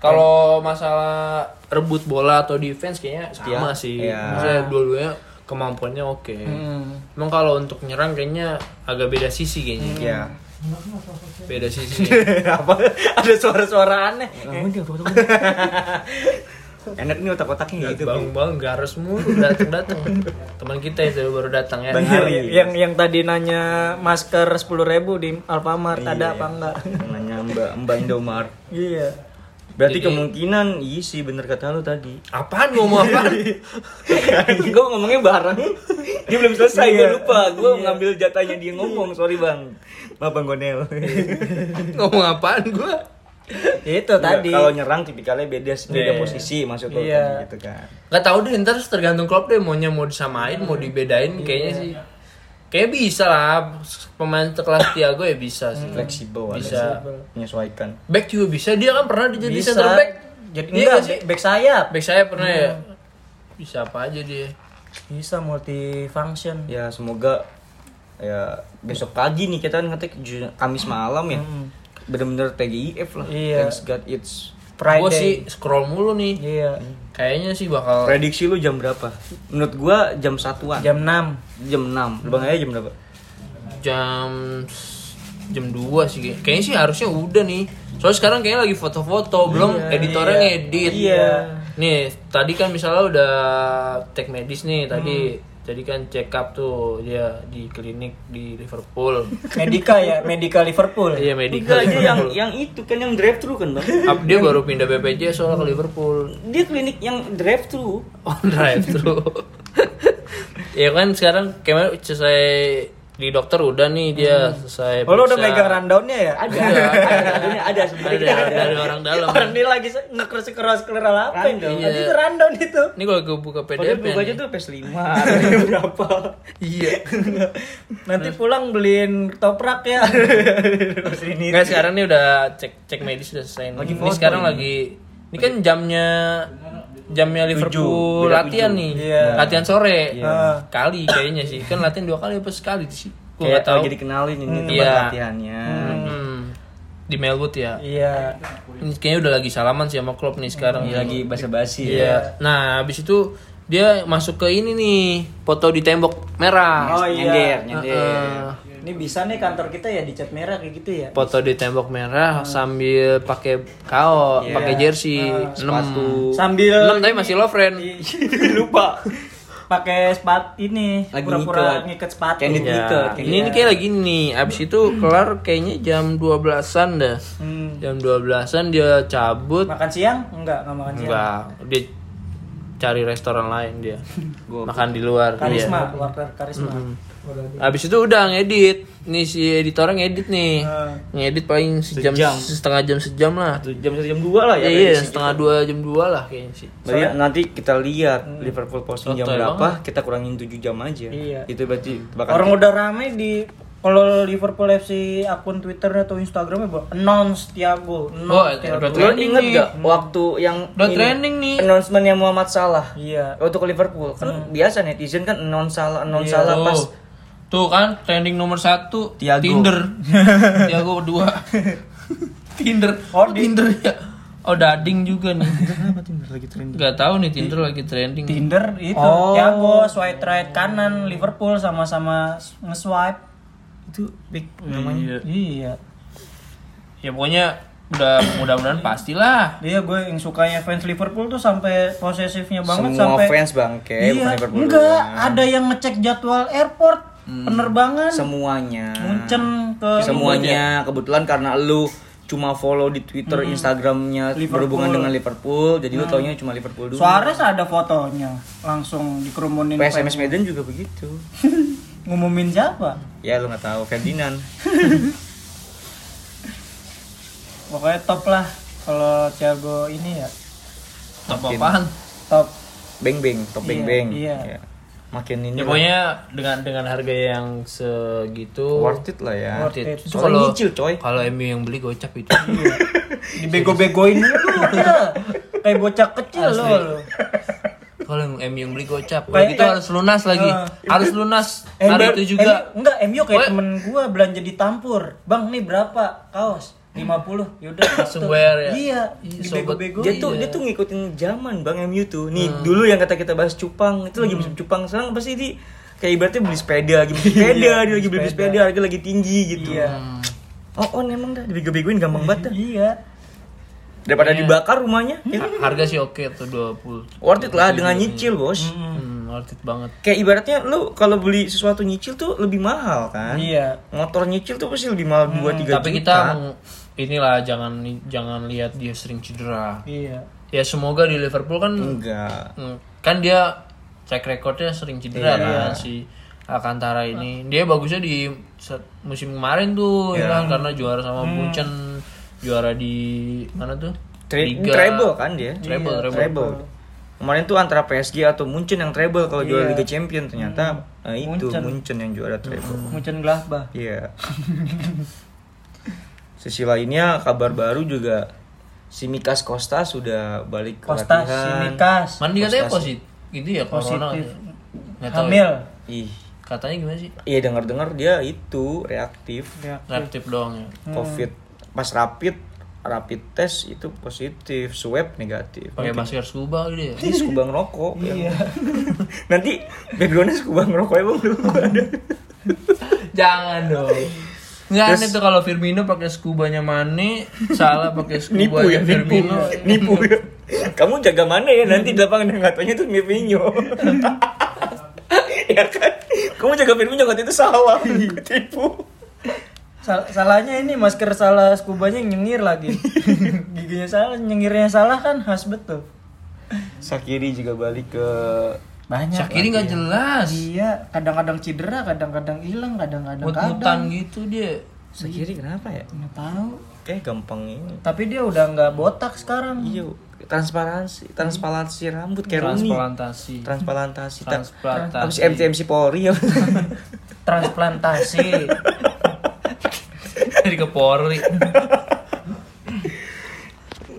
Kalau masalah rebut bola atau defense kayaknya sama Iya. sih. Iya. Maksudnya dua-duanya kemampuannya oke. Hmm. Hmm. Emang kalau untuk nyerang kayaknya agak beda sisi kayaknya. Ya. Beda sisi. kayaknya. apa ada suara-suara aneh. Enak nih otak-otaknya gitu. Pik. bang bang garis mulu datang datang. Teman kita itu baru datang ya. Benar. Hari. yang yang tadi nanya masker 10.000 di Alfamart ada apa enggak? Nanya Mbak Mbak Indomar. iya. Berarti Jadi- kemungkinan iya sih bener kata lu tadi. Apaan ngomong apaan? gue ngomongnya bareng dia belum selesai gue Iya. lupa gue ngambil jatahnya dia ngomong sorry bang maaf bang Gonel ngomong apaan gua? Ya itu tadi. kalau nyerang tipikalnya beda sih, beda Iya. posisi masuk lo Iya. gitu kan Gak tau deh ntar tergantung klub deh maunya mau disamain mau dibedain kayaknya sih. Kayak bisa lah pemain sekelas Tiago ya bisa Hmm. sih. fleksibel Bisa. ada sih, menyesuaikan Back juga bisa dia kan pernah jadi Bisa. center back. Jadi Iya enggak gak sih? back- back sayap. Back saya pernah ya. Bisa apa aja dia. Bisa multifunction. ya semoga ya besok pagi nih kita kan ngetik Ju- Kamis malam ya bener-bener TGIF lah Iya. thanks God it's Gue Friday. sih scroll mulu nih. Iya. Kayaknya sih bakal prediksi lu jam berapa menurut gua jam satuan jam, Jam 6. 6 bang Ayah jam berapa jam jam 2 sih kayaknya. Kayaknya sih harusnya udah nih. Soalnya sekarang kayaknya lagi foto-foto, belum editornya ngedit. Iya. Nih, tadi kan misalnya udah cek medis nih tadi. Hmm. Jadi kan check up tuh dia di klinik di Liverpool. Medica ya, Medica Liverpool. Enggak, Iya, medical. dia yang yang itu kan yang drive thru kan bang. Ap- dia baru pindah BPJS soalnya ke Liverpool. Dia klinik yang drive thru. on drive thru ya kan sekarang kemarin selesai di dokter udah nih dia Hmm. selesai Oh, lo udah periksa. megang rundownnya ya? Ada, ada, ada, ada sebenarnya ada, kita ada. dari orang dalam Orang dia lagi se- ngekerus keras keras apa ini? Rundown. Tadi itu rundown itu. ini kalau gue buka Padahal PDF buku Oh, aja tuh PS5, harganya berapa? iya Nanti pulang beliin toprak ya. Terus ini. nggak sekarang nih udah cek cek medis udah selesai lagi ini sekarang lagi ini kan jamnya jamnya Liverpool beda latihan nih Iya. latihan sore Iya. kali kayaknya sih kan latihan dua kali apa sekali sih gue Kayak nggak tahu tahu jadi kenalin ini tempat Iya. latihannya. Hmm. di Melwood ya Iya. ini kayaknya udah lagi salaman sih sama Klopp nih sekarang Ini lagi basa-basi Iya. ya. Nah, habis itu dia masuk ke ini nih, foto di tembok merah. Oh Nyender, iya. nyender. Heeh. Ini bisa nih kantor kita ya dicat merah kayak gitu ya. Foto di tembok merah sambil pakai kaos, Iya. pakai jersey, Ah, enam Sambil enam tapi masih love friend. Iya, lupa pakai sepat ini Lagi pura-pura ngikat. ngikat sepatu. Iya. Candid Ya. Gitu, kayak Ini, ini kayak lagi nih, abis itu Hmm. kelar kayaknya jam 12-an dah. Hmm. Jam 12-an dia cabut. Makan siang? Enggak, enggak makan siang. Enggak, dia cari restoran lain dia. Gua- Makan di luar. iya. Karisma, worker karisma. Habis itu udah ngedit. Nih si editornya ngedit nih. Ah. Hmm. Ngedit paling sejam, Sejam. setengah jam sejam lah. Satu jam satu jam dua lah ya. Iya, iya, prediksi setengah dua jam dua lah kayaknya sih. Berarti Iya. nanti kita lihat Liverpool posting jam Sotoy berapa, kita kurangin 7 jam aja. Hmm. Iya. Itu berarti bakal Orang udah rame di kalau Liverpool FC akun Twitternya atau Instagramnya bu announce Thiago, Oh, announce Thiago. udah Lo trending inget nih. gak Hmm. waktu yang Udah trending nih. announcementnya Muhammad Salah? Iya. Hmm. Waktu ke Liverpool kan biasa netizen kan announce Salah, announce Tuh. Salah pas Tuh kan trending nomor satu Tiago. Tinder. Tiago kedua. Tinder. Oh, Tinder ya. Oh, dading juga nih. kan Gak tahu nih Tinder lagi trending. Tinder itu Oh. Thiago swipe right kanan Liverpool sama-sama nge-swipe. itu big namanya. Iya. Ya pokoknya udah mudah-mudahan pastilah. Iya, gue yang sukanya fans Liverpool tuh sampai posesifnya banget Semua sampai fans bangke, bukan Iya, Liverpool. Hmm. enggak, doang. ada kan yang ngecek jadwal airport, penerbangan, Semuanya. Muncen ke Iya. semuanya kebetulan karena lu cuma follow di Hmm. Twitter, Instagramnya berhubungan dengan Liverpool, jadi lu taunya cuma Liverpool dulu. Suarez ada fotonya, langsung dikerumunin PSMS Medan juga begitu. ngumumin siapa? Ya lu nggak tahu Ferdinand. Pokoknya top lah kalau Thiago ini ya, Top apaan? top. Beng beng, top beng Iya, beng. iya. Ya. Makin ini Ya pokoknya dengan dengan harga yang segitu worth it lah ya. worth it. it. Itu Soalnya kalau nyicil, coy. kalau MU yang beli gocap itu. Dibego-begoin dulu ya. Kayak bocah kecil lo. lo. kalau yang MU yang beli gocap, Kayak- begitu harus lunas lagi. Ah. harus lunas. Eh, Hari Bang, itu juga. M- enggak, MU kayak Weh. temen gua belanja di Tampur. Bang, nih berapa kaos? 50. Yaudah, Langsung bayar ya? Iya, Iya, dibego-bego. Dia sobat. tuh dia tuh ngikutin zaman Bang MU tuh. Nih Hmm. dulu yang kata kita bahas cupang, itu lagi musim cupang. Sekarang pasti di kayak ibaratnya beli sepeda, lagi beli Iya, sepeda, dia lagi beli sepeda, harga lagi tinggi gitu. Iya. Oh, on emang dah dibego-begoin gampang banget dah. Iya. Daripada Iya. dibakar rumahnya, ya Ha- Harga sih oke tuh 20. worth it lah dengan nyicil, Bos. Iya. Hmm, worth it banget. Kayak ibaratnya lu kalau beli sesuatu nyicil tuh lebih mahal kan? Iya. Motor nyicil tuh pasti lebih mahal 2 3 juta. Hmm. Tapi kita meng- inilah jangan jangan lihat dia sering cedera. Iya. Ya semoga di Liverpool kan enggak. Hmm, kan dia track recordnya sering cedera Iya. kan si Alcantara ini dia bagusnya di se- musim kemarin tuh Iya. ya kan karena juara sama Hmm. Munchen juara di mana tuh Tre- treble kan dia? Treble, Iya, treble. Kemarin tuh antara PSG atau Munchen yang treble kalau juara Liga Champion ternyata eh, itu Munchen. Munchen. yang juara treble. Munchen Gladbach. Iya. Sisi lainnya kabar baru juga si Mikas Costa sudah balik ke Kostas, latihan. Simikas, mana dia katanya positif gitu ya corona Positif. nggak tahu ya. Hamil. Ih, katanya gimana sih iya dengar-dengar dia itu reaktif reaktif doang ya COVID. Pas rapid rapid test itu positif, swab negatif. pakai masker scuba gitu ya Ini scuba ngerokok. Iya. ya, Iya. Nanti backgroundnya scuba ngerokok emang dulu ada. Jangan dong. Nggak aneh tuh kalau Firmino pakai skubanya Mane, salah pakai skuba ya, Firmino. nipu ya. Kamu jaga mana ya nanti di lapangan yang katanya tuh Firmino. ya kan? Kamu jaga Firmino katanya itu salah. Tipu. Sal- salahnya ini masker salah skubanya nyengir lagi. Giginya salah, nyengirnya salah kan khas betul. Sakiri juga balik ke Banyak. Sakiri nggak jelas. Iya, kadang-kadang cedera, kadang-kadang hilang, kadang-kadang Mut-mutan gitu dia. Sakiri kenapa ya? Nggak tahu. Kayak gampang ini. Tapi dia udah nggak botak sekarang. Iya, transparansi, transparansi rambut kayak Rooney. Transplantasi. Transparansi. ta- Apa sih Transplantasi. MC MC Polri ya? Transplantasi. Jadi ke Polri.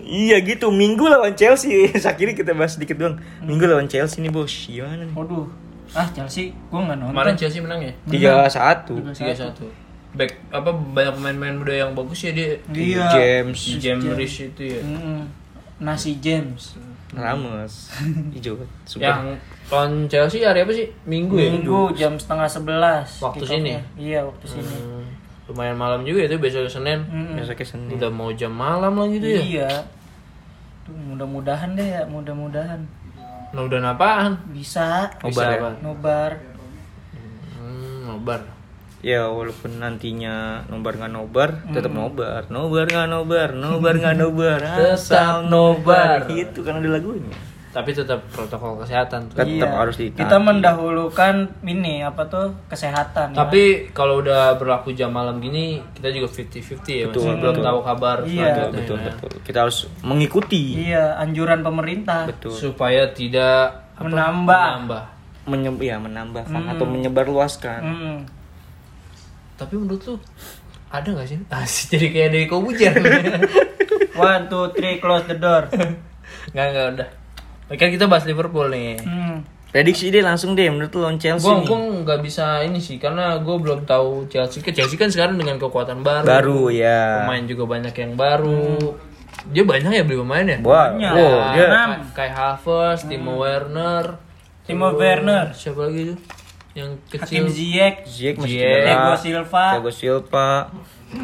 iya gitu, Minggu lawan Chelsea. Sakiri kita bahas sedikit doang. Minggu lawan Chelsea nih, Bos. Gimana nih? Waduh. Ah, Chelsea, gua nggak nonton. Kemarin Chelsea menang ya? 3-1. 3-1. Back apa banyak pemain-pemain muda yang bagus ya dia. Iya. James James Rish itu ya. Mm-mm. Nasi James. Ramos. Ijo. Ya. Super. Yang lawan Chelsea hari apa sih? Minggu ya? Minggu jam setengah sebelas. kick Waktu off-nya. sini? Iya, waktu sini. Hmm, lumayan malam juga itu besok Senin. Besoknya Senin. Udah mau jam malam lagi tuh ya. Iya. Tuh, mudah-mudahan deh ya, mudah-mudahan Nah udah napaan? bisa Nobar ya? nobar. Hmm, nobar. Ya walaupun nantinya nobar nggak nobar, tetap Hmm. nobar. Nobar nggak nobar, nobar nggak nobar. Tetap nobar. Itu kan ada lagunya. Tapi tetap protokol kesehatan tuh. Tetap harus Iya. Kita ditaati. mendahulukan ini apa tuh kesehatan. ya. Tapi kalau udah berlaku jam malam gini, kita juga 50-50 ya. Betul, masih belum betul. tahu kabar Iya. selanjutnya Betul ya. betul. Kita harus mengikuti. Iya, anjuran pemerintah Betul. Supaya tidak apa, menambah. menambah. Menye- ya, menambahkan Hmm. atau menyebarluaskan. Mm. Tapi menurut lu ada nggak sih? Asik jadi kayak dari Kobujer. One, two, three, close the door. nggak nggak udah. Kan kita bahas Liverpool nih. Mm. Prediksi deh langsung deh menurut lo lawan Chelsea Gue nih. gue nggak bisa ini sih karena gue belum tahu Chelsea. Ke Chelsea kan sekarang dengan kekuatan baru. Baru ya. Pemain juga banyak yang baru. Dia banyak ya beli pemain ya. Wah, iya. Banyak. wow, Oh, dia Enam. Kai Havertz, Timo Werner, Timo Werner, siapa lagi tuh? Yang Hakim kecil. Ziyech, Ziyech masih Ziyech. cedera. Thiago Silva. Thiago Iya. Silva.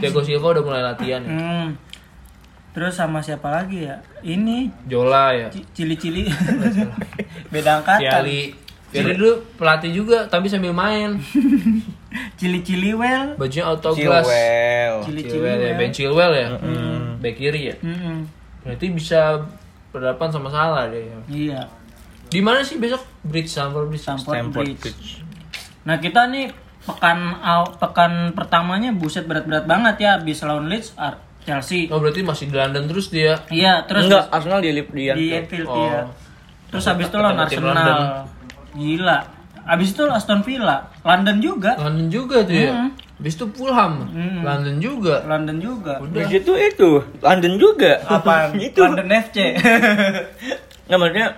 Thiago Silva udah mulai latihan. ya. Mm. Terus sama siapa lagi ya? Ini Jola ya. ci- cili-cili. Beda angkatan. Tiali. Tiali dulu pelatih juga tapi sambil main. Cili-cili well. Bajunya autoglass. Chilwell. Oh, Chilwell ya, Ben Chilwell ya. Back kiri ya. Mm-mm. Berarti bisa berhadapan sama salah deh. Iya, Di mana sih besok Bridge Stamford Bridge? Stamford Stamford Bridge. Bridge. Nah kita nih pekan aw- pekan pertamanya buset berat-berat banget ya abis lawan Leeds Ar- Chelsea. Oh berarti masih di London terus dia. Iya terus Enggak, Arsenal di di di Anfield Oh. iya. Terus abis itu lawan Ketemu tim Arsenal. London. Gila. Abis itu Aston Villa, London juga, London juga tuh ya. Habis itu Fulham. London juga. London juga. Udah. Bridge itu itu London juga. Apaan? itu. London FC. Nggak maksudnya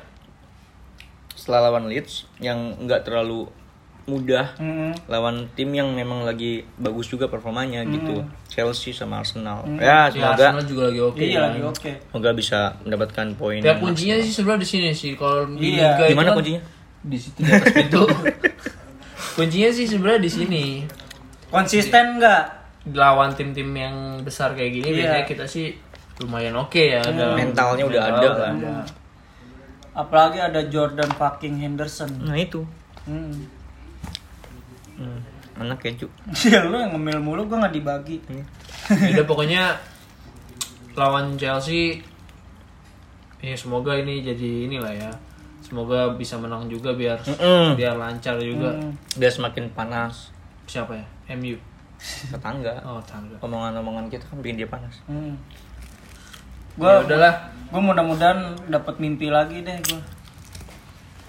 setelah lawan Leeds yang nggak terlalu mudah Hmm. Mm, lawan tim yang memang lagi bagus juga performanya gitu. Chelsea sama Arsenal. Ya, Si semoga Hmm. Arsenal juga lagi oke. Iya kan. lagi oke. semoga bisa mendapatkan poin. Ya kuncinya sih sebenarnya di sini sih kalau di Iya. liga itu Gimana kan kuncinya? Di situ di atas pintu. kuncinya sih sebenarnya di sini. Konsisten nggak? Lawan tim-tim yang besar kayak Iya. gini biasanya kita sih lumayan oke ya dalam Mentalnya udah mental ada kan. Iya. Apalagi ada Jordan fucking Henderson. Nah, itu. Mm. Hmm. Anak keju. Iya lu yang ngemil mulu gua nggak dibagi. Ya Udah pokoknya lawan Chelsea ya semoga ini jadi inilah ya. Semoga bisa menang juga biar Mm-mm. biar lancar juga. Hmm. Udah semakin panas Siapa ya? MU. tetangga. Oh, tangga. Omongan-omongan kita kan bikin dia panas. Hmm. Ya Gua udahlah. gue mudah-mudahan dapat mimpi lagi deh gue.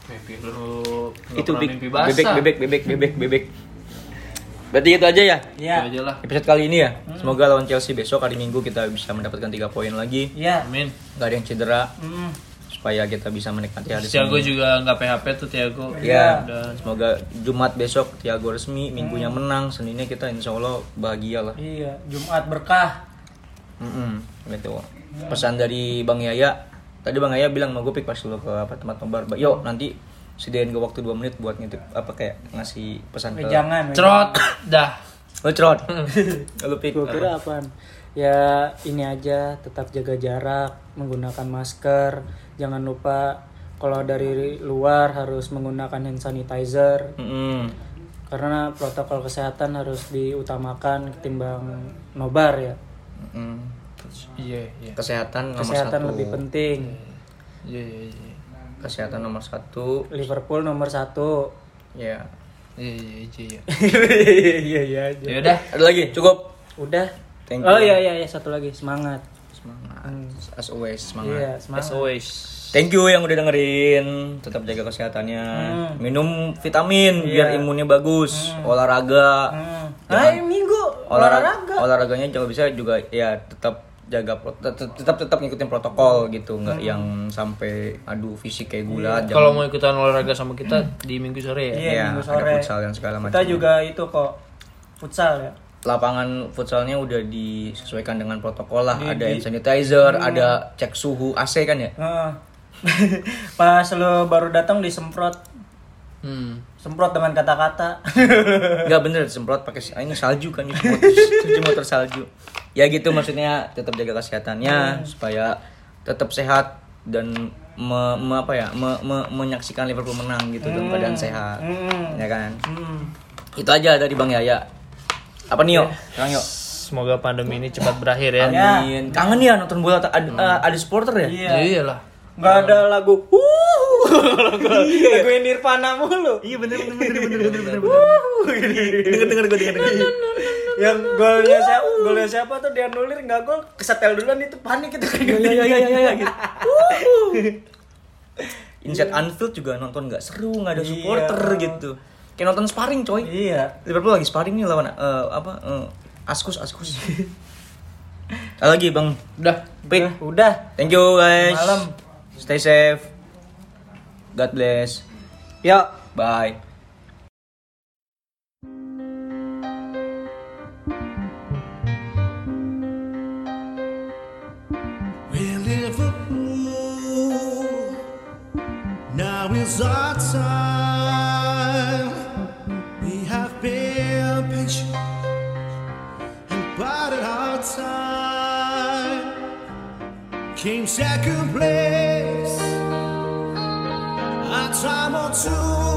Mimpi lu nggak itu pernah big, mimpi basah. bebek bebek bebek bebek bebek berarti itu aja ya Itu aja lah. episode kali ini ya semoga lawan Chelsea besok hari Minggu kita bisa mendapatkan tiga poin lagi Iya. Amin. nggak ada yang cedera Hmm. supaya kita bisa menikmati hari Tiago Senin juga nggak PHP tuh Tiago. ya Dan Mm. semoga Jumat besok Tiago resmi minggunya menang Seninnya kita insya Allah bahagia lah Iya. Jumat berkah. Mm-mm, gitu. pesan dari Bang Yaya tadi Bang Yaya bilang mau gue pick pas dulu ke apa tempat nobar yuk nanti sediain gue waktu 2 menit buat ngitip apa kayak ngasih pesan ke Eh, jangan. cerot dah. Lo cerot. Lu kira apaan? Ya ini aja tetap jaga jarak, menggunakan masker, jangan lupa kalau dari luar harus menggunakan hand sanitizer Mm-mm. karena protokol kesehatan harus diutamakan ketimbang nobar ya. Mm. Iya, iya. Kesehatan nomor Kesehatan satu. lebih penting. Iya, iya, iya. Kesehatan nomor satu. Liverpool nomor satu. Ya. Iya, iya, iya, iya. Iya iya aja. Ya udah, ada lagi. Cukup. Udah. Thank Oh you. iya iya iya satu lagi semangat. Semangat. As always, semangat. Iya semangat. As always. Thank you yang udah dengerin. Tetap jaga kesehatannya. Hmm. Minum vitamin biar imunnya bagus. Olahraga. Iya. Hmm. Jangan- Hai minggu olahraga olahraganya kalau bisa juga ya tetap jaga pro- tetap tetap, tetap ngikutin protokol gitu nggak yang sampai aduh fisik kayak gulat Kalau mau ikutan olahraga sama kita di minggu sore ya. Iya Iya, minggu ada sore. futsal dan segala Kita macam. juga itu kok futsal ya. lapangan futsalnya udah disesuaikan dengan protokol lah ada hand sanitizer ada cek suhu AC kan ya Heeh. Pas lo baru datang disemprot Hmm. semprot dengan kata-kata. nggak bener semprot pakai si- ah, ini salju kan ini semprot cuci motor salju ya gitu maksudnya tetap jaga kesehatannya supaya tetap sehat dan me- me- apa ya me- me- menyaksikan Liverpool menang gitu dalam keadaan sehat Hmm. ya kan Hmm. itu aja dari Bang Yaya apa nih yuk Kang Yo? Semoga pandemi ini cepat berakhir ya. Amin. kangen ya nonton bola ta- ada, eh, ada supporter ya Iya. Iya. lah. Nggak ada lagu. Wuh. lagu Nirvana mulu. Iya bener bener bener bener bener bener. Denger denger gue denger denger. Yang golnya siapa? Golnya siapa tuh dia nulir nggak gol kesetel duluan itu panik itu. Iya iya iya iya gitu. Inside Anfield juga nonton nggak seru nggak ada supporter gitu kayak nonton sparring coy Iya. Liverpool lagi sparring nih lawan eh, apa eh, Askus Askus. Ada lagi Bang Udah. Pit. Udah. Thank you guys. Malam. Stay safe. God bless. Yuk. Bye. Well, Liverpool, now is our time. We have been patient and bided our time. Came second place, a time or two.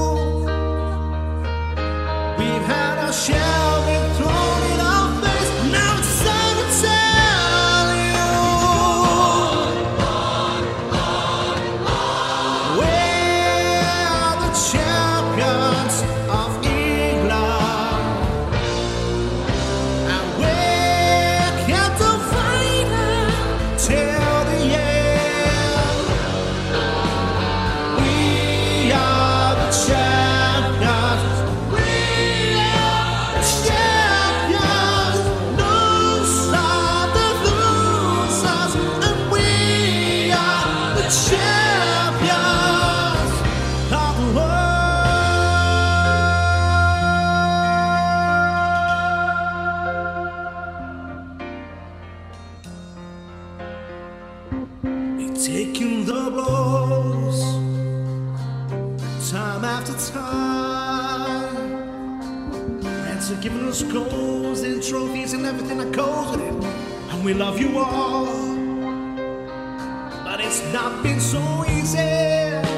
We've had our share, we've thrown in our face. Now it's time to tell you we're the champions of England, and we kept on fighting till the end. We are the champions. We are the champions. No side that loses, and we are the champions of the world. We've taken the blows time after time. Reds are giving us goals and trophies and everything that goes with it. And we love you all. But it's not been so easy.